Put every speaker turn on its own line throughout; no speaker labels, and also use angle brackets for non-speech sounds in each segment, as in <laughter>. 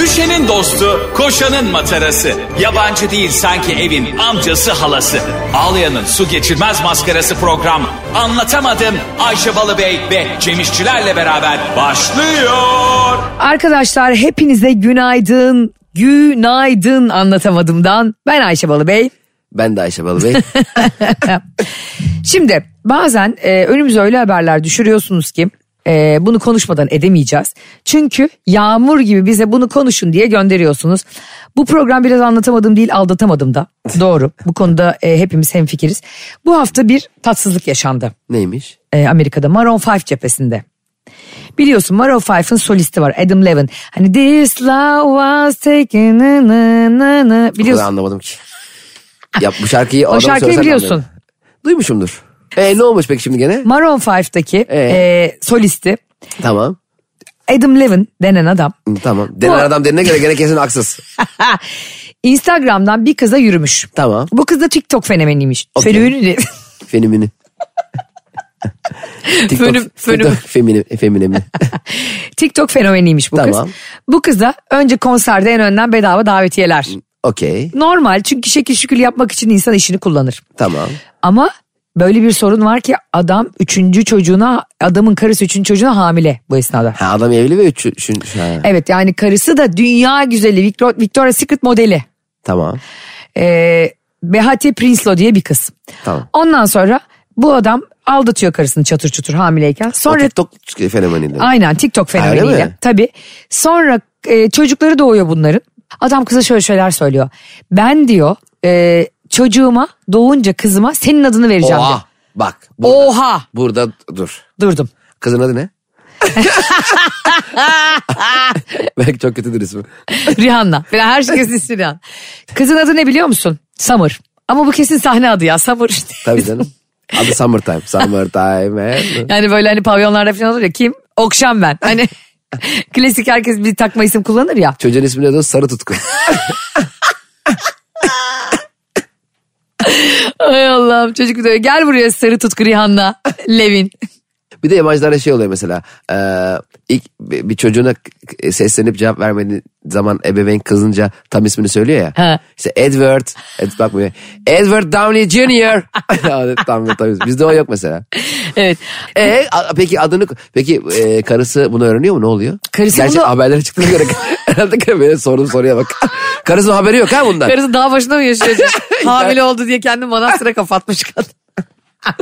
Ayşe'nin dostu, koşanın matarası. Yabancı değil sanki evin amcası halası. Ağlayan'ın su geçirmez maskarası program. Anlatamadım Ayşe Balıbey ve Cemişçilerle beraber başlıyor.
Arkadaşlar hepinize günaydın. Günaydın anlatamadımdan. Ben Ayşe Balıbey.
Ben de
<laughs>
Ayşe Balıbey.
Şimdi bazen e, önümüze öyle haberler düşürüyorsunuz ki e, bunu konuşmadan edemeyeceğiz. Çünkü yağmur gibi bize bunu konuşun diye gönderiyorsunuz. Bu program biraz anlatamadım değil aldatamadım da. Doğru bu konuda e, hepimiz hemfikiriz. Bu hafta bir tatsızlık yaşandı
Neymiş?
e, Amerika'da Maroon 5 cephesinde. Biliyorsun Maroon 5'ın solisti var Adam Levin. Hani this love was taken na na na na.
Bu kadar
Biliyorsun
anlamadım ki. Ya bu şarkıyı
o
adam
şarkıyı
söylesen
biliyorsun.
anlarım. Duymuşumdur. E ne olmuş peki
<laughs>
şimdi gene?
Maroon 5'taki
Ee?
e, solisti
Tamam.
Adam Levin denen adam.
Hı, Tamam. Denen
Bu-
adam denene göre gene kesin haksız.
Instagram'dan bir kıza yürümüş.
Tamam.
Bu kız da TikTok fenomeniymiş.
Okey.
Fenomeni
Fenomeni. TikTok,
Fönüm- fönüm.
TikTok femini,
<laughs>
feminimi.
<laughs> TikTok fenomeniymiş bu
Tamam.
kız. Bu kıza önce konserde en önden bedava davetiyeler.
Hmm. Okey.
Normal çünkü şekil şükür yapmak için insan işini kullanır.
Tamam.
Ama böyle bir sorun var ki adam üçüncü çocuğuna adamın karısı üçüncü çocuğuna hamile bu esnada.
Ha, adam evli ve üç, üçün, ha,
Evet yani karısı da dünya güzeli Victor- Victoria's Secret modeli.
Tamam.
Ee, Behati Prinslo diye bir kız.
Tamam.
Ondan sonra bu adam aldatıyor karısını çatır çutur hamileyken.
O
Sonra
TikTok fenomeniyle.
aynen TikTok
Öyle
fenomeniyle.
mi?
Tabii. Sonra e, çocukları doğuyor bunların. Adam kıza şöyle şeyler söylüyor. Ben diyor e, çocuğuma doğunca kızıma senin adını vereceğim diyor.
Oha. Bak. Burada,
Oha
burada dur.
durdum.
Kızın
<laughs>
adı ne? <laughs> Belki çok kötüdür ismi.
<laughs> Rihanna. Falan her şey kesin Rihanna. Kızın adı ne biliyor musun? Summer. Ama bu kesin sahne adı ya Summer. işte. <laughs>
Tabii canım. Adı Summertime. Summertime. eh.
yani böyle hani pavyonlarda falan olur ya kim? Okşam ben. Hani <laughs> klasik herkes bir takma isim kullanır ya.
Çocuğun ismi ne diyor? Sarı Tutku. <laughs>
Ay Allah'ım çocuk diyor gel buraya sarı tutku Rihanna. <laughs> Levin.
Bir de imajlarda şey oluyor mesela. Eee ilk bir bir çocuğuna k- seslenip cevap vermediği zaman ebeveyn kızınca tam ismini söylüyor ya.
Ha.
İşte Edward. Ed, bakmıyor. Edward Downey <laughs> Jr. tam, tam, bizde o yok mesela.
Evet.
E, a- peki adını peki e, karısı bunu öğreniyor mu ne oluyor?
Karısı
Gerçi
bunu-
haberlere çıktığına göre <laughs> herhalde böyle sordum soruya bak. Karısının haberi yok ha bundan.
Karısı daha başına mı yaşıyor?
<laughs>
acaba? Hamile oldu diye kendi manastıra kapatmış kadın. <laughs>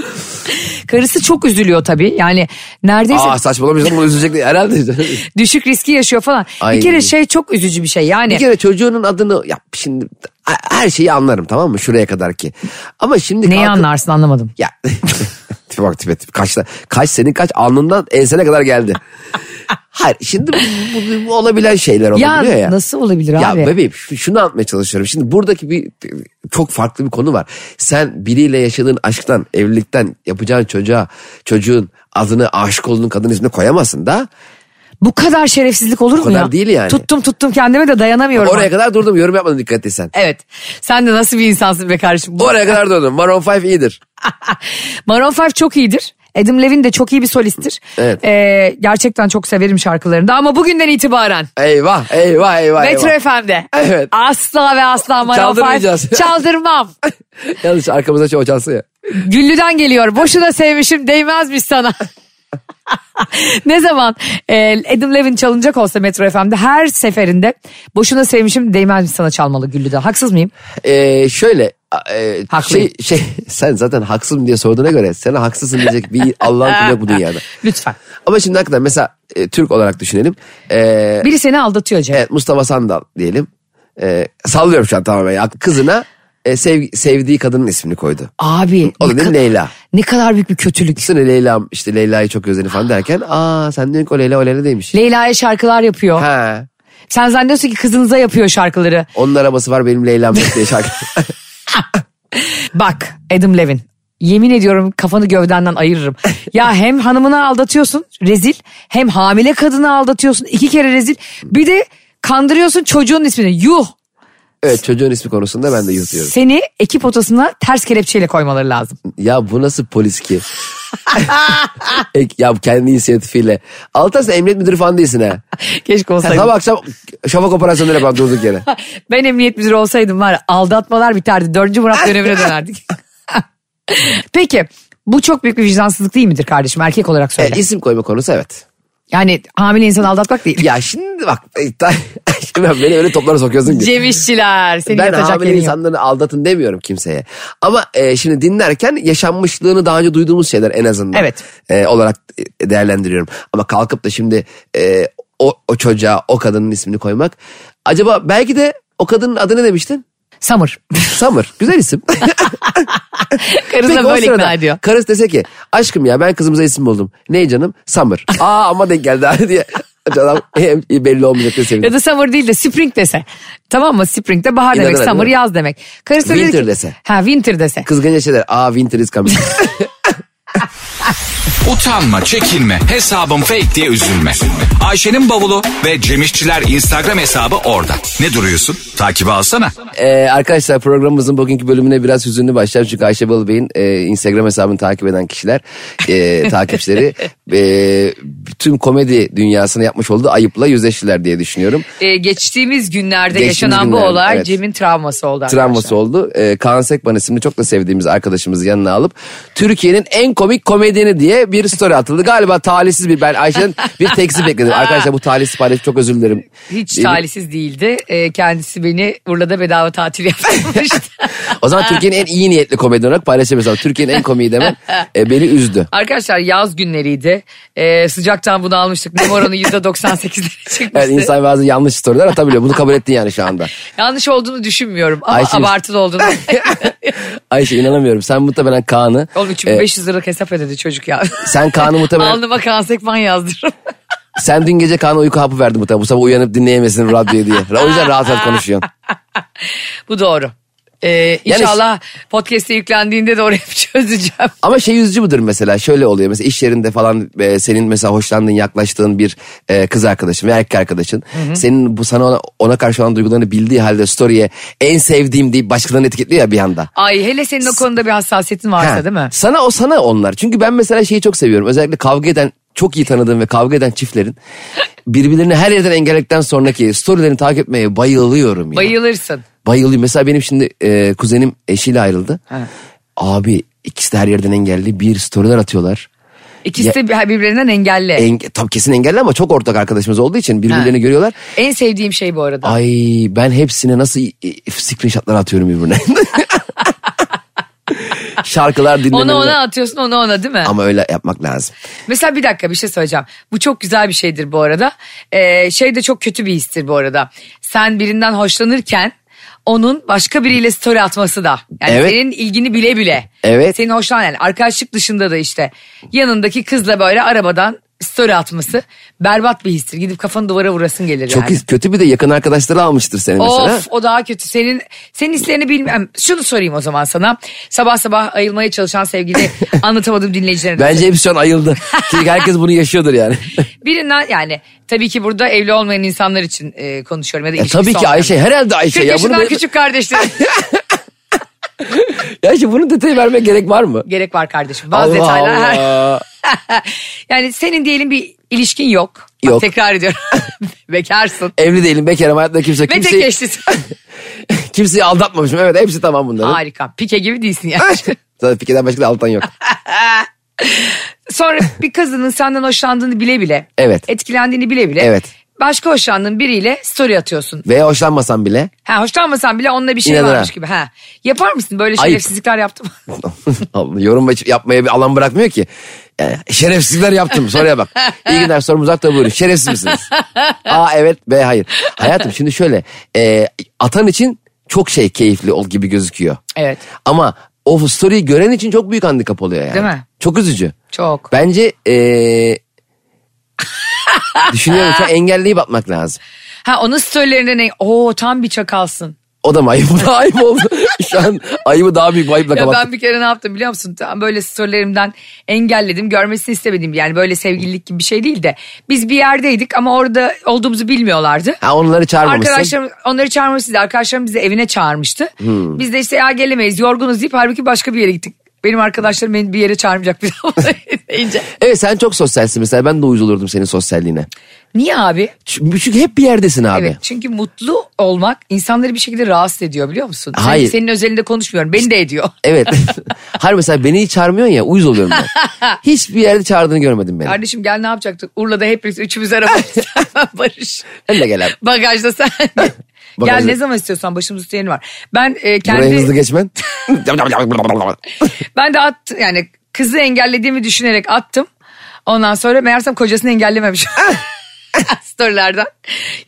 Karısı çok üzülüyor tabii. Yani neredeyse
Aa saçmalamışsın bunu üzülecek diye. herhalde.
düşük riski yaşıyor falan.
Ay.
Bir kere şey çok üzücü bir şey yani.
Bir kere çocuğunun adını yap şimdi her şeyi anlarım tamam mı şuraya kadar ki. Ama şimdi
Neyi
kalkıp-
anlarsın anlamadım.
Ya <laughs> tipe bak tipe tipe. kaçta kaç senin kaç alnından ensene kadar geldi. Hayır şimdi bu, bu olabilen şeyler
Ya,
olabiliyor ya.
nasıl olabilir
ya
abi?
bebeğim şu- şunu anlatmaya çalışıyorum. Şimdi buradaki bir çok farklı bir konu var. Sen biriyle yaşadığın aşktan, evlilikten yapacağın çocuğa, çocuğun adını aşık olduğun kadın ismine koyamazsın da.
Bu kadar şerefsizlik olur mu
kadar
ya?
değil yani.
Tuttum tuttum kendime de dayanamıyorum.
Oraya kadar durdum yorum yapmadım dikkat ettiysen.
Evet. Sen de nasıl bir insansın be kardeşim. Bu...
Oraya kadar durdum. Maroon 5 iyidir.
Maroon 5 çok iyidir. Adam Levine de çok iyi bir solisttir.
Evet.
Ee, gerçekten çok severim şarkılarını da ama bugünden itibaren
Eyvah eyvah eyvah
Metro
eyvah.
FM'de
Evet.
asla ve asla Maroon 5
Çaldırmayacağız. <laughs>
çaldırmam.
Yanlış arkamızda şey o çalsın ya.
Güllü'den geliyor. Boşuna sevmişim değmezmiş
<laughs>
sana. ne zaman e, Adam Levin çalınacak olsa Metro FM'de her seferinde boşuna sevmişim değmezmiş sana çalmalı Güllü'den. Haksız mıyım?
Ee, şöyle a- e,
Haklıyım.
şey, şey, <laughs> sen zaten haksızım diye sorduğuna göre sana haksızsın diyecek bir Allah'ın kulu yok bu dünyada.
Lütfen.
Ama şimdi hakikaten mesela e, Türk olarak düşünelim. Ee,
Biri seni aldatıyor Cem.
Evet Mustafa Sandal diyelim. Ee, sallıyorum şu an tamamen. ya. Kızına e, sev- sevdiği kadının ismini koydu.
Abi
O da
ne,
ne
ka-
Leyla.
ne kadar büyük bir kötülük.
Sonra Leyla işte Leyla'yı çok özledi
<gasps>
falan derken aa sen diyorsun ki o Leyla o Leyla değilmiş.
Leyla'ya şarkılar yapıyor.
ha.
Sen zannediyorsun ki kızınıza yapıyor şarkıları.
Onun arabası var benim Leyla'm yok diye şarkı. <laughs>
Bak Adam Levin. Yemin ediyorum kafanı gövdenden
<laughs>
ayırırım. Ya hem hanımını aldatıyorsun rezil hem hamile kadını aldatıyorsun iki kere rezil. Bir de kandırıyorsun çocuğun ismini yuh.
Evet çocuğun ismi konusunda ben de yutuyorum.
Seni ekip odasına ters kelepçeyle koymaları lazım.
Ya bu nasıl
<laughs>
polis ki? Ek- ya kendi inisiyatifiyle. Altan sen emniyet müdürü falan değilsin
<laughs>
ha.
Keşke
Sen
olsaydım.
sabah akşam şafak operasyonları yapalım
<laughs>
durduk yere.
Ben emniyet müdürü olsaydım var ya, aldatmalar biterdi. Dördüncü
<laughs>
Murat dönemine dönerdik. <laughs> Peki bu çok büyük bir vicdansızlık değil midir kardeşim erkek olarak söyle.
E, isim koyma konusu evet.
Yani hamile insanı aldatmak değil.
Ya şimdi bak e, ta- <laughs> şimdi bak beni öyle toplara sokuyorsun ki.
Cem İşçiler seni
Ben
yatacak
hamile
yerin yok.
insanları aldatın demiyorum kimseye. Ama e, şimdi dinlerken yaşanmışlığını daha önce duyduğumuz şeyler en azından.
Evet.
e, olarak e, değerlendiriyorum. Ama kalkıp da şimdi e, o, o çocuğa o kadının ismini koymak. Acaba belki de o kadının adı ne demiştin?
Samur.
Summer.
<laughs>
Güzel isim.
Karısı da
<laughs> Peki o
böyle
sırada
ikna ediyor.
Karısı dese ki aşkım ya ben kızımıza isim buldum. Ne canım? Summer. <laughs> Aa ama denk geldi abi <laughs> diye. Adam hem belli olmayacak diye
Ya <laughs>
sevindim.
da summer değil de spring dese. Tamam mı? Spring de bahar demek.
İnanır,
Summer
değil mi?
yaz demek. Karısı da dedi
Winter
ki-
dese.
Ha winter dese.
Kızgın yaşadılar. Aa winter
<laughs>
is coming.
Utanma, çekinme, hesabım fake diye üzülme. Ayşe'nin bavulu ve Cemişçiler Instagram hesabı orada. Ne duruyorsun? Takibi alsana.
Ee, arkadaşlar programımızın bugünkü bölümüne biraz hüzünlü başlar. Çünkü Ayşe Balıbey'in e, Instagram hesabını takip eden kişiler,
<laughs>
e, takipçileri e, tüm komedi dünyasına yapmış olduğu ayıpla yüzleştiler diye düşünüyorum.
Ee, geçtiğimiz günlerde
Geçtiğimiz
yaşanan bu
günlerde,
olay
evet.
Cem'in travması oldu arkadaşlar.
Travması oldu. E, Kaan Sekban isimli çok da sevdiğimiz arkadaşımızı yanına alıp Türkiye'nin en komik komedyeni diye bir story atıldı. Galiba talihsiz bir ben Ayşe'nin bir teksi bekledim. Arkadaşlar bu talihsiz paylaş çok özür dilerim.
Hiç
Ee,
talihsiz değildi. Ee, kendisi beni Urla'da bedava tatil <laughs> yaptırmıştı.
O zaman Türkiye'nin en iyi niyetli komedyen olarak paylaşamıyorsam. Türkiye'nin en komiği demem e, beni üzdü.
Arkadaşlar yaz günleriydi. Ee, sıcaktan bunu almıştık. Nem oranı %98'lere çıkmıştı.
Yani insan bazı yanlış storyler atabiliyor. Bunu kabul ettin yani şu anda.
Yanlış olduğunu düşünmüyorum ama
Ayşe-
abartılı
<laughs>
olduğunu.
Ayşe inanamıyorum. Sen muhtemelen Kaan'ı...
Oğlum
e,
3500 liralık hesap ödedi çocuk ya.
sen Kaan'ı muhtemelen...
Alnıma kan sekman yazdırırım.
sen dün gece Kaan'a uyku hapı verdin muhtemelen. Bu sabah uyanıp dinleyemesin radyoyu diye. O yüzden rahat rahat konuşuyorsun.
<laughs> Bu doğru. Ee,
Yani-
inşallah podcast'e yüklendiğinde de orayı çözeceğim.
Ama şey yüzücü müdür mesela şöyle oluyor mesela iş yerinde falan e, senin mesela hoşlandığın yaklaştığın bir e, kız arkadaşın veya erkek arkadaşın senin bu sana ona, ona karşı olan duygularını bildiği halde story'e en sevdiğim deyip başkalarını etiketliyor ya bir anda.
Ay hele senin o konuda bir hassasiyetin varsa
Ha,
değil mi?
Sana o sana onlar. Çünkü ben mesela şeyi çok seviyorum. Özellikle kavga eden çok iyi tanıdığım ve kavga eden çiftlerin birbirlerini her yerden engelledikten sonraki storylerini takip etmeye bayılıyorum. Ya.
Bayılırsın.
Bayılıyorum. Mesela benim şimdi e, kuzenim eşiyle ayrıldı.
Ha.
Abi ikisi de her yerden engelli bir storyler atıyorlar.
İkisi de bir- birbirinden engelli.
Enge, tam kesin engelli ama çok ortak arkadaşımız olduğu için birbirlerini
Ha.
görüyorlar.
En sevdiğim şey bu arada.
Ay ben hepsine nasıl e, e, screenshotlar atıyorum birbirine. <laughs> Şarkılar dinlemeler.
Ona ona atıyorsun ona ona değil mi?
Ama öyle yapmak lazım.
Mesela bir dakika bir şey söyleyeceğim. Bu çok güzel bir şeydir bu arada. Ee, şey de çok kötü bir histir bu arada. Sen birinden hoşlanırken onun başka biriyle story atması da. Yani
Evet.
senin ilgini bile bile.
Evet.
Senin hoşlanan yani arkadaşlık dışında da işte yanındaki kızla böyle arabadan story atması berbat bir histir. Gidip kafanı duvara vurasın gelir
Çok
yani.
is- kötü bir de yakın arkadaşları almıştır seni mesela.
Of o daha kötü. Senin senin hislerini bilmem. Şunu sorayım o zaman sana. Sabah sabah ayılmaya çalışan
<laughs>
sevgili anlatamadım dinleyicilerine. de
Bence hepsi şu an
<laughs>
ayıldı. Çünkü herkes bunu yaşıyordur yani.
Birinden yani tabii ki burada evli olmayan insanlar için e, konuşuyorum ya da
E,
ilişkisi
tabii ki
olmayan.
Ayşe herhalde Ayşe.
40
ya bunu,
yaşından küçük
<laughs>
kardeşlerim.
Ya Ayşe bunun detayı vermeye gerek var mı?
Gerek var kardeşim. Bazı
Allah
detaylar.
Allah.
<laughs> yani senin diyelim bir ilişkin yok. Bak,
Yok.
tekrar ediyorum.
<laughs>
Bekarsın.
Evli değilim bekarım hayatta kimse
Ve
kimseyi,
tek eşlisin.
<laughs> kimseyi aldatmamışım. Evet hepsi tamam bunların.
Harika. Pike gibi değilsin yani.
<laughs> Zaten fikirden başka da altan yok.
Sonra <laughs> bir kızının senden hoşlandığını bile bile.
Evet.
Etkilendiğini bile bile.
Evet.
Başka hoşlandığın biriyle story atıyorsun.
Veya hoşlanmasan
<laughs>
bile
Ha hoşlanmasan bile onunla bir şey
İnanır
varmış
ha.
gibi. Ha. Yapar mısın böyle
Ayıp.
şerefsizlikler yaptım. <laughs>
Allah, yorum yapmaya bir alan bırakmıyor ki. Yani şerefsizlikler yaptım
<laughs>
soruya bak. İyi günler sorum uzakta buyurun. Şerefsiz misiniz? A evet B hayır. Hayatım şimdi şöyle e, atan için çok şey keyifli ol gibi gözüküyor.
Evet.
Ama o story'yi gören için çok büyük handikap oluyor yani.
Değil mi?
Çok üzücü.
Çok.
Bence e, düşünüyorum ki engelleyip atmak lazım.
Ha onun storylerinden ne? Oo tam bir çakalsın.
O da mı ayıp? <laughs> Bu da ayıp oldu. Şu an ayıbı daha büyük bir ayıpla
Ya
kapattık.
ben bir kere ne yaptım biliyor musun? Tam böyle storylerimden engelledim. Görmesini istemedim. Yani böyle sevgililik gibi bir şey değil de. Biz bir yerdeydik ama orada olduğumuzu bilmiyorlardı.
Ha, onları çağırmamışsın.
Arkadaşlarım onları çağırmıştı. Arkadaşlarım bizi evine çağırmıştı.
Hmm.
Biz de işte ya gelemeyiz yorgunuz deyip halbuki başka bir yere gittik. Benim arkadaşlarım beni bir yere çağırmayacak bir daha <laughs> deyince.
Evet sen çok sosyalsin mesela ben de uyuz olurdum senin sosyalliğine.
Niye abi?
Çünkü çünkü hep bir yerdesin abi.
Evet çünkü mutlu olmak insanları bir şekilde rahatsız ediyor biliyor musun? Sen-
Hayır.
senin özelinde konuşmuyorum beni de ediyor. <laughs>
Evet. Hayır mesela beni hiç çağırmıyorsun ya uyuz oluyorum ben. Hiçbir yerde çağırdığını görmedim beni.
Kardeşim gel ne yapacaktık? Urla'da hep birlikte üçümüz
<laughs>
arabadayız. <laughs> Barış.
Ben de gel abi.
Bagajda sen. Gel
Bagajda.
ne zaman istiyorsan başımız üstü yeni var. Ben e, kendi
Buraya hızlı geçmen.
ben de attım yani kızı engellediğimi düşünerek attım. Ondan sonra meğersem kocasını engellememiş. <laughs> Storylerden.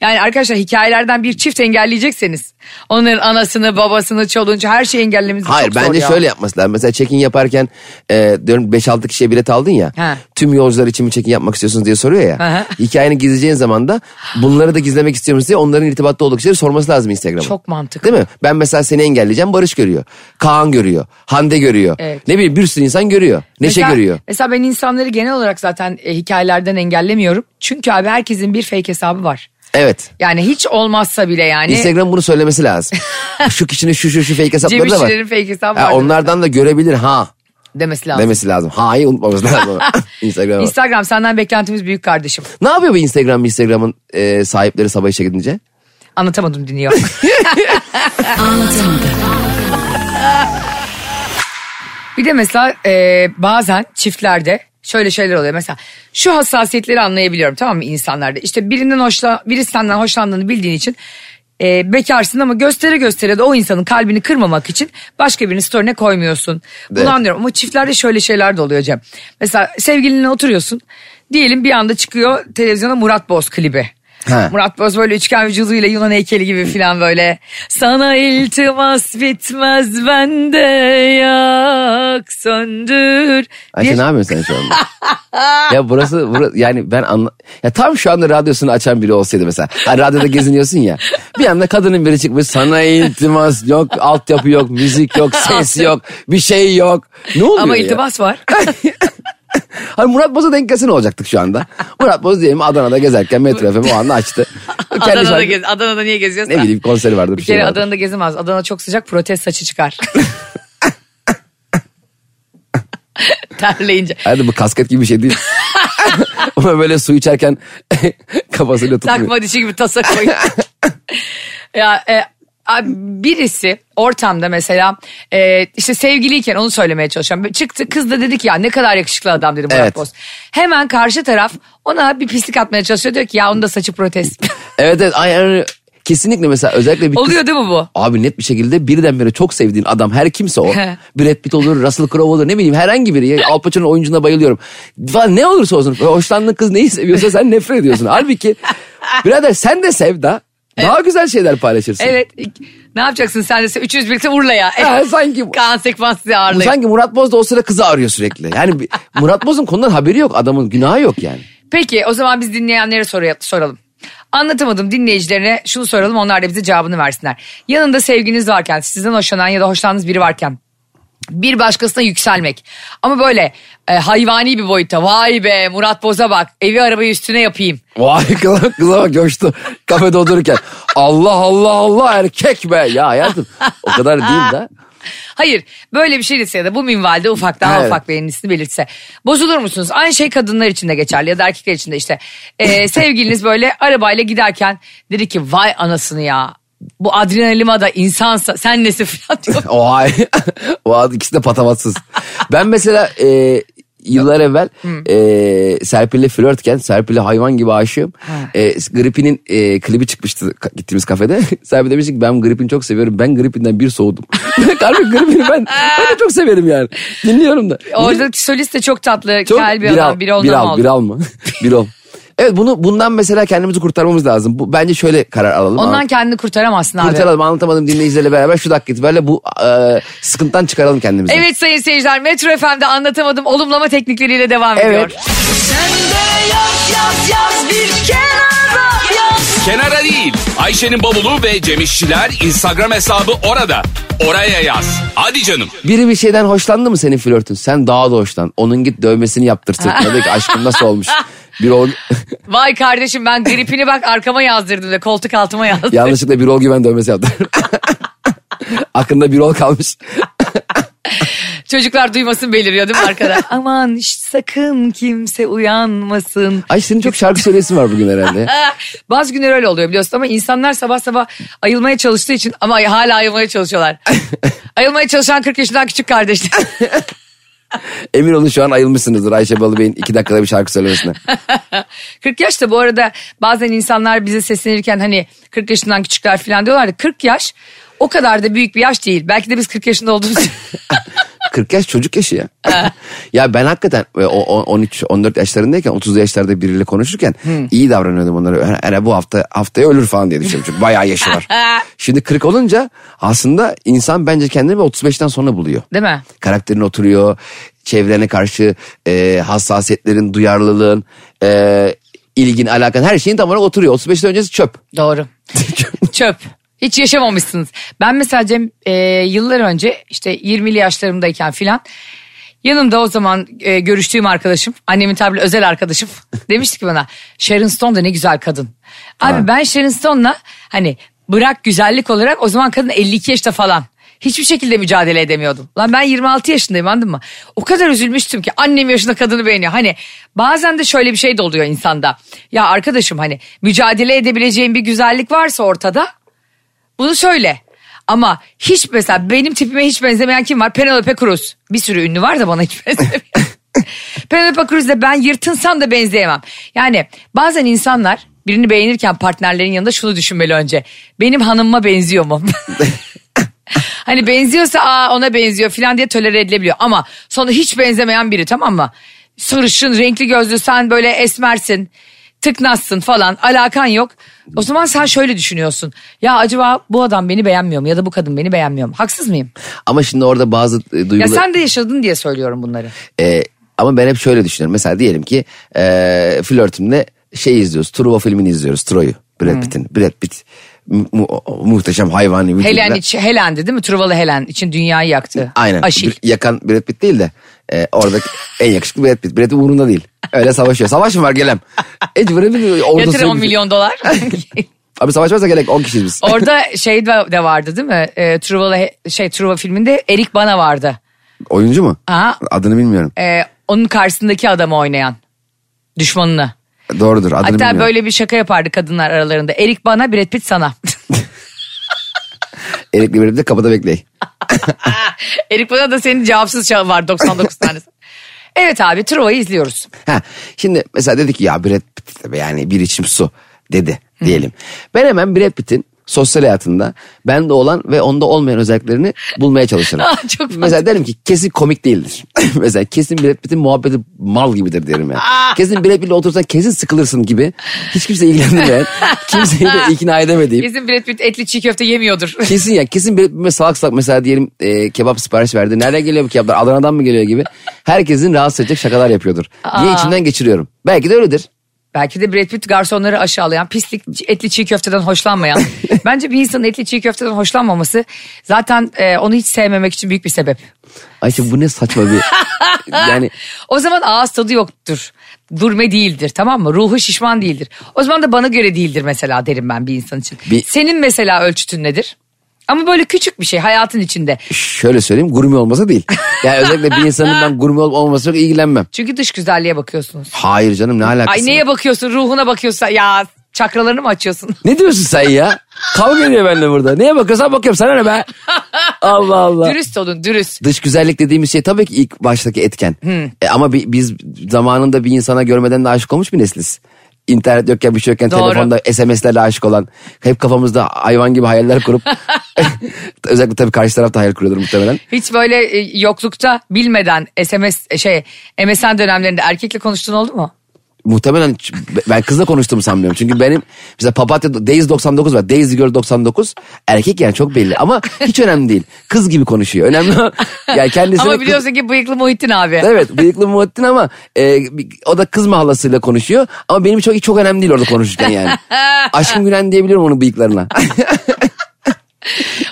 Yani arkadaşlar hikayelerden bir çift engelleyecekseniz onların anasını, babasını, çoluğunu her şeyi engellemeniz
Hayır
çok zor
bence
ya.
şöyle yapması lazım. Mesela check-in yaparken e, diyorum 5-6 kişiye bilet aldın ya.
He.
Tüm yolcular için mi check-in yapmak istiyorsunuz diye soruyor ya.
Aha.
Hikayeni gizleyeceğin zaman da bunları da gizlemek istiyor musun diye onların irtibatta olduğu kişileri sorması lazım Instagram'a.
Çok mantıklı.
Değil mi? Ben mesela seni engelleyeceğim Barış görüyor. Kaan görüyor. Hande görüyor.
Evet.
Ne bileyim bir sürü insan görüyor. Neşe
Mesela-
görüyor.
Mesela ben insanları genel olarak zaten e, hikayelerden engellemiyorum. Çünkü abi herkesin bir fake hesabı var.
Evet.
Yani hiç olmazsa bile yani.
Instagram bunu
<laughs>
söylemesi lazım. şu kişinin şu şu şu fake hesapları da var.
Cem İşçilerin fake hesabı
Ha,
var.
onlardan da görebilir ha
demesi lazım.
demesi lazım. Ha'yı
<laughs>
unutmamız lazım. Instagram'a. bak.
Instagram senden beklentimiz büyük kardeşim.
ne yapıyor bu Instagram Instagram'ın e, sahipleri sabah işe gidince?
Anlatamadım dinliyor. bir de mesela e, bazen çiftlerde şöyle şeyler oluyor. Mesela şu hassasiyetleri anlayabiliyorum tamam mı insanlarda. İşte birinden hoşla, birisi senden hoşlandığını bildiğin için e, bekarsın ama göstere göstere de o insanın kalbini kırmamak için başka birinin story'ine koymuyorsun. Bunu
Evet. Ha.
Murat Boz böyle üçgen vücuduyla Yunan heykeli gibi filan böyle. Sana iltimas bitmez bende yak söndür.
Ayşe
Bir-
ne yapıyorsun sen şu anda? <laughs> ya burası, burası yani ben anla... Ya tam şu anda radyosunu açan biri olsaydı mesela. Hani radyoda geziniyorsun ya. Bir anda kadının biri çıkmış sana iltimas yok, altyapı yok, müzik
<laughs>
yok, ses yok, bir şey yok. Ne oluyor
Ama
ya?
iltimas
<laughs>
var.
Hani Murat Boz'a denk gelsene olacaktık şu anda. Murat Boz diyelim Adana'da gezerken Metro FM o anda açtı.
<laughs>
Kendi
Adana'da,
şarkı-
gez, Adana'da niye geziyorsun?
Ne bileyim konseri vardı bir,
Bir
şey
kere
vardı.
Adana'da gezemez. Adana çok sıcak protest saçı
<laughs>
çıkar. <laughs> Terleyince.
Hayatım bu kasket gibi bir
<laughs>
şey değil. Ama böyle su içerken <laughs> kafasıyla tutmuyor.
Takma dişi gibi tasa koy.
<laughs>
ya e, abi birisi ortamda mesela e, işte sevgiliyken onu söylemeye çalışıyorum. Böyle Çıktı kız da dedi ki ya ne kadar yakışıklı adam dedi Murat
Evet.
Boz. Hemen karşı taraf ona bir pislik atmaya çalışıyor diyor ki ya onun da saçı <laughs> protest.
Evet evet. Ay, ay, kesinlikle mesela özellikle bir kız-
Oluyor değil mi bu?
Abi net bir şekilde birdenbire çok sevdiğin adam her kimse o.
He.
Brad Pitt olur, Russell Crowe olur ne bileyim herhangi biri. Ya, Al Pacino oyuncuna bayılıyorum. Falan ne olursa olsun hoşlandığın kız neyi seviyorsa sen nefret ediyorsun. Halbuki birader sen de sev da daha güzel şeyler paylaşırsın.
Evet. Ne yapacaksın sen de üçünüz birlikte Urla'ya.
Ha, sanki
Kaan Sekman sizi ağırlayın.
sanki Murat Boz da o sıra kızı arıyor sürekli. Yani bir- Murat Boz'un konudan haberi yok. Adamın günahı yok yani.
Peki o zaman biz dinleyenlere soru- soralım. Anlatamadım dinleyicilerine şunu soralım onlar da bize cevabını versinler. Yanında sevginiz varken sizden hoşlanan ya da hoşlandığınız biri varken bir başkasına yükselmek. Ama böyle e, hayvani bir boyutta vay be Murat Boz'a bak evi arabayı üstüne yapayım.
Vay <laughs> kıza, kıza bak coştu kafede otururken. Allah Allah Allah erkek be. Ya hayatım o kadar değil de.
Hayır böyle bir şey dese ya da bu minvalde ufak daha
Evet.
ufak beğenisini belirtse. Bozulur musunuz? Aynı şey kadınlar için de geçerli ya da erkekler için de işte.
<laughs>
Ee, sevgiliniz böyle arabayla giderken dedi ki vay anasını ya. Bu adrenalima da insansa sen nesin falan
<laughs>
diyor.
Vay. Vay ikisi de patavatsız. Ben mesela e, yıllar evvel e, Serpil'le flörtken Serpil'e hayvan gibi aşığım. E, Gripin'in e, klibi çıkmıştı ka- gittiğimiz kafede. <laughs> Serpil demiş ki ben Gripin'i çok seviyorum. Ben Gripin'den bir soğudum. <laughs> Harbi Gripin'i ben, ben de çok severim yani. Dinliyorum da.
Oradaki solist de çok tatlı,
Çok
kel bir
bir
adam,
al,
bir oldu.
bir al, bir al mı? <laughs> bir ol. Evet bunu bundan mesela kendimizi kurtarmamız lazım. Bu, bence şöyle karar alalım.
Ondan
Anlat-
kendini kurtaramazsın abi.
kurtaralım anlatamadım dinleyicilerle beraber şu dakika itibariyle bu e, sıkıntıdan çıkaralım kendimizi.
Evet sayın seyirciler Metro FM'de anlatamadım olumlama teknikleriyle devam ediyor.
Evet.
Kenara değil
değil. Ayşe'nin bavulu ve Cemişçiler Instagram hesabı orada. Oraya yaz. Hadi canım.
Biri bir şeyden hoşlandı mı senin flörtün? Sen daha da hoşlan. Onun git
<laughs>
dövmesini yaptırsın. Dedi ki aşkım nasıl olmuş? Bir ol...
Vay kardeşim ben gripini bak arkama yazdırdım da koltuk altıma yazdım.
<laughs> Yanlışlıkla bir ol güven dövmesi yaptı. <laughs> Aklında bir ol kalmış.
Çocuklar duymasın beliriyor değil mi arkada? <laughs> Aman şş, sakın kimse uyanmasın. Ah,
Ay senin çok şarkı söyleyesin var bugün herhalde.
Bazı günler öyle oluyor biliyorsun ama insanlar sabah sabah ayılmaya çalıştığı için ama hala ayılmaya çalışıyorlar. <laughs> ayılmaya çalışan 40 yaşından küçük <laughs> kardeşler.
Emin olun şu an ayılmışsınızdır Ayşe Balıbey'in iki dakikada bir şarkı söylemesine.
40 yaş da bu arada bazen insanlar bize seslenirken hani 40 yaşından küçükler falan diyorlar da 40 yaş o kadar da büyük bir yaş değil. Belki de biz 40 yaşında olduğumuz için.
40 yaş çocuk yaşı ya. ya ben hakikaten e, o- o- 13 14 yaşlarındayken 30 yaşlarda biriyle konuşurken iyi davranıyordum onlara. Hani, hani bu hafta haftaya ölür falan diye düşünüyorum. Çünkü bayağı yaşı var. Şimdi 40 olunca aslında insan bence kendini bir 35'ten sonra buluyor.
Değil mi?
Karakterin oturuyor. Çevrene karşı e, hassasiyetlerin, duyarlılığın, e, ilgin, alakan her şeyin tam olarak oturuyor. 35'ten öncesi çöp.
Doğru. Çöp. Hiç yaşamamışsınız. Ben mesela Cem e, yıllar önce işte 20'li yaşlarımdayken filan yanımda o zaman e, görüştüğüm arkadaşım annemin tabiri özel arkadaşım <laughs> demişti ki bana Sharon Stone da ne güzel kadın. Abi ben Sharon Stone'la hani bırak güzellik olarak o zaman kadın 52 yaşta falan. Hiçbir şekilde mücadele edemiyordum. Lan ben 26 yaşındayım anladın mı? O kadar üzülmüştüm ki annem yaşında kadını beğeniyor. Hani bazen de şöyle bir şey de oluyor insanda. Ya arkadaşım hani mücadele edebileceğin bir güzellik varsa ortada bunu söyle. Ama hiç mesela benim tipime hiç benzemeyen kim var? Penelope Cruz. Bir sürü ünlü var da bana hiç <laughs> benzemiyor. Penelope Cruz'la ben yırtınsam da benzeyemem. Yani bazen insanlar birini beğenirken partnerlerin yanında şunu düşünmeli önce. Benim hanımıma benziyor mu? <laughs> hani benziyorsa aa ona benziyor falan diye tolere edilebiliyor. Ama sonra hiç benzemeyen biri tamam mı? Sarışın, renkli gözlü sen böyle esmersin, tıknazsın falan alakan yok. O zaman sen şöyle düşünüyorsun. Ya acaba bu adam beni beğenmiyor mu ya da bu kadın beni beğenmiyor mu? Haksız mıyım?
Ama şimdi orada bazı e, duygular...
Ya sen de yaşadın diye söylüyorum bunları.
Ee, ama ben hep şöyle düşünüyorum. Mesela diyelim ki ee, flörtümle şey izliyoruz. Truva filmini izliyoruz. Troy'u. Brad
Hmm.
Pitt'in. Brad Pitt mu- mu- muhteşem hayvani. vücuduyla-
Helen için, Helen'di değil mi? Truvalı Helen için dünyayı yaktı.
Aynen.
Aşil.
Bir- Yakan Brad Pitt değil de ee, oradaki en yakışıklı Brad Pitt. Brad Pitt umurunda değil. Öyle savaşıyor. Savaş mı var gelem? Hiç Brad Pitt orada
Yatır 10
sürekli-
milyon
<laughs>
dolar.
Abi savaş varsa gerek 10 kişiyiz biz.
Orada şey de de vardı değil mi? Ee, Truvalı he- şey Truva filminde Erik Bana vardı.
Oyuncu mu?
Aha.
Adını bilmiyorum.
Ee, onun karşısındaki adamı oynayan. Düşmanını.
Doğrudur adını
E, Hatta
bilmiyorum.
böyle bir şaka yapardı kadınlar aralarında. Erik bana, Brad Pitt sana. <laughs>
Erikli Brad Pitt kapıda bekley.
Erik bana da senin cevapsız çağın var 99 tanesi. Evet abi Truva'yı izliyoruz.
Ha, şimdi mesela dedi ki ya Brad Pitt de be yani bir içim su dedi diyelim. Ben hemen Brad Pitt'in sosyal hayatında bende olan ve onda olmayan özelliklerini bulmaya çalışırım.
Ah, çok
mesela derim ki kesin komik değildir. <laughs> mesela kesin Brad Pitt'in muhabbeti mal gibidir derim yani. kesin Brad Pitt'le otursan kesin sıkılırsın gibi. Hiç kimse ilgilenmeyen, kimseyi de ikna edemediğim.
Bizim Brad Pitt etli çiğ köfte yemiyordur.
Kesin ya kesin bir, bir salak salak mesela diyelim e, kebap sipariş verdi. Nereden geliyor bu kebaplar? Adana'dan mı geliyor gibi. Herkesin rahatsız edecek şakalar yapıyordur. Diye içimden geçiriyorum. Belki de öyledir.
Belki de Brad Pitt garsonları aşağılayan, pislik etli çiğ köfteden hoşlanmayan. Bence bir insanın etli çiğ köfteden hoşlanmaması zaten e, onu hiç sevmemek için büyük bir sebep.
Ayşe bu ne saçma bir... yani
O zaman ağız tadı yoktur. Gurme değildir tamam mı? Ruhu şişman değildir. O zaman da bana göre değildir mesela derim ben bir insan için.
Bir-
Senin mesela ölçütün nedir? Ama böyle küçük bir şey hayatın içinde.
şöyle söyleyeyim gurme olmasa değil. Yani özellikle bir insanın ben gurme olup olmaması çok ilgilenmem.
Çünkü dış güzelliğe bakıyorsunuz.
Hayır canım ne alakası
Ay
var?
neye bakıyorsun ruhuna bakıyorsun ya çakralarını mı açıyorsun?
Ne diyorsun sen ya? Kavga ediyor benimle burada. Neye bakıyorsan bakıyorum sana ne be? Allah Allah.
dürüst olun dürüst.
Dış güzellik dediğimiz şey tabii ki ilk baştaki etken. E, ama bi- biz zamanında bir insana görmeden de aşık olmuş bir nesliz. İnternet yokken bir şey yokken
Doğru.
telefonda SMS'lerle aşık olan. Hep kafamızda hayvan gibi hayaller
<laughs>
kurup. özellikle tabii karşı taraf da hayal kuruyordur muhtemelen.
Hiç böyle e, yoklukta bilmeden SMS e, şey MSN dönemlerinde erkekle konuştuğun oldu mu?
muhtemelen ç- ben kızla konuştuğumu sanmıyorum. Çünkü benim mesela papatya Days 99 var. Daisy Girl 99 erkek yani çok belli ama hiç önemli değil. Kız gibi konuşuyor.
<laughs>
Önemli o- yani kendisine
Ama biliyorsun ki bıyıklı Muhittin abi.
Evet bıyıklı Muhittin ama e, o da kız mahallasıyla konuşuyor. Ama benim çok çok önemli değil orada konuşurken yani. Aşkım Gülen diyebiliyorum onun bıyıklarına.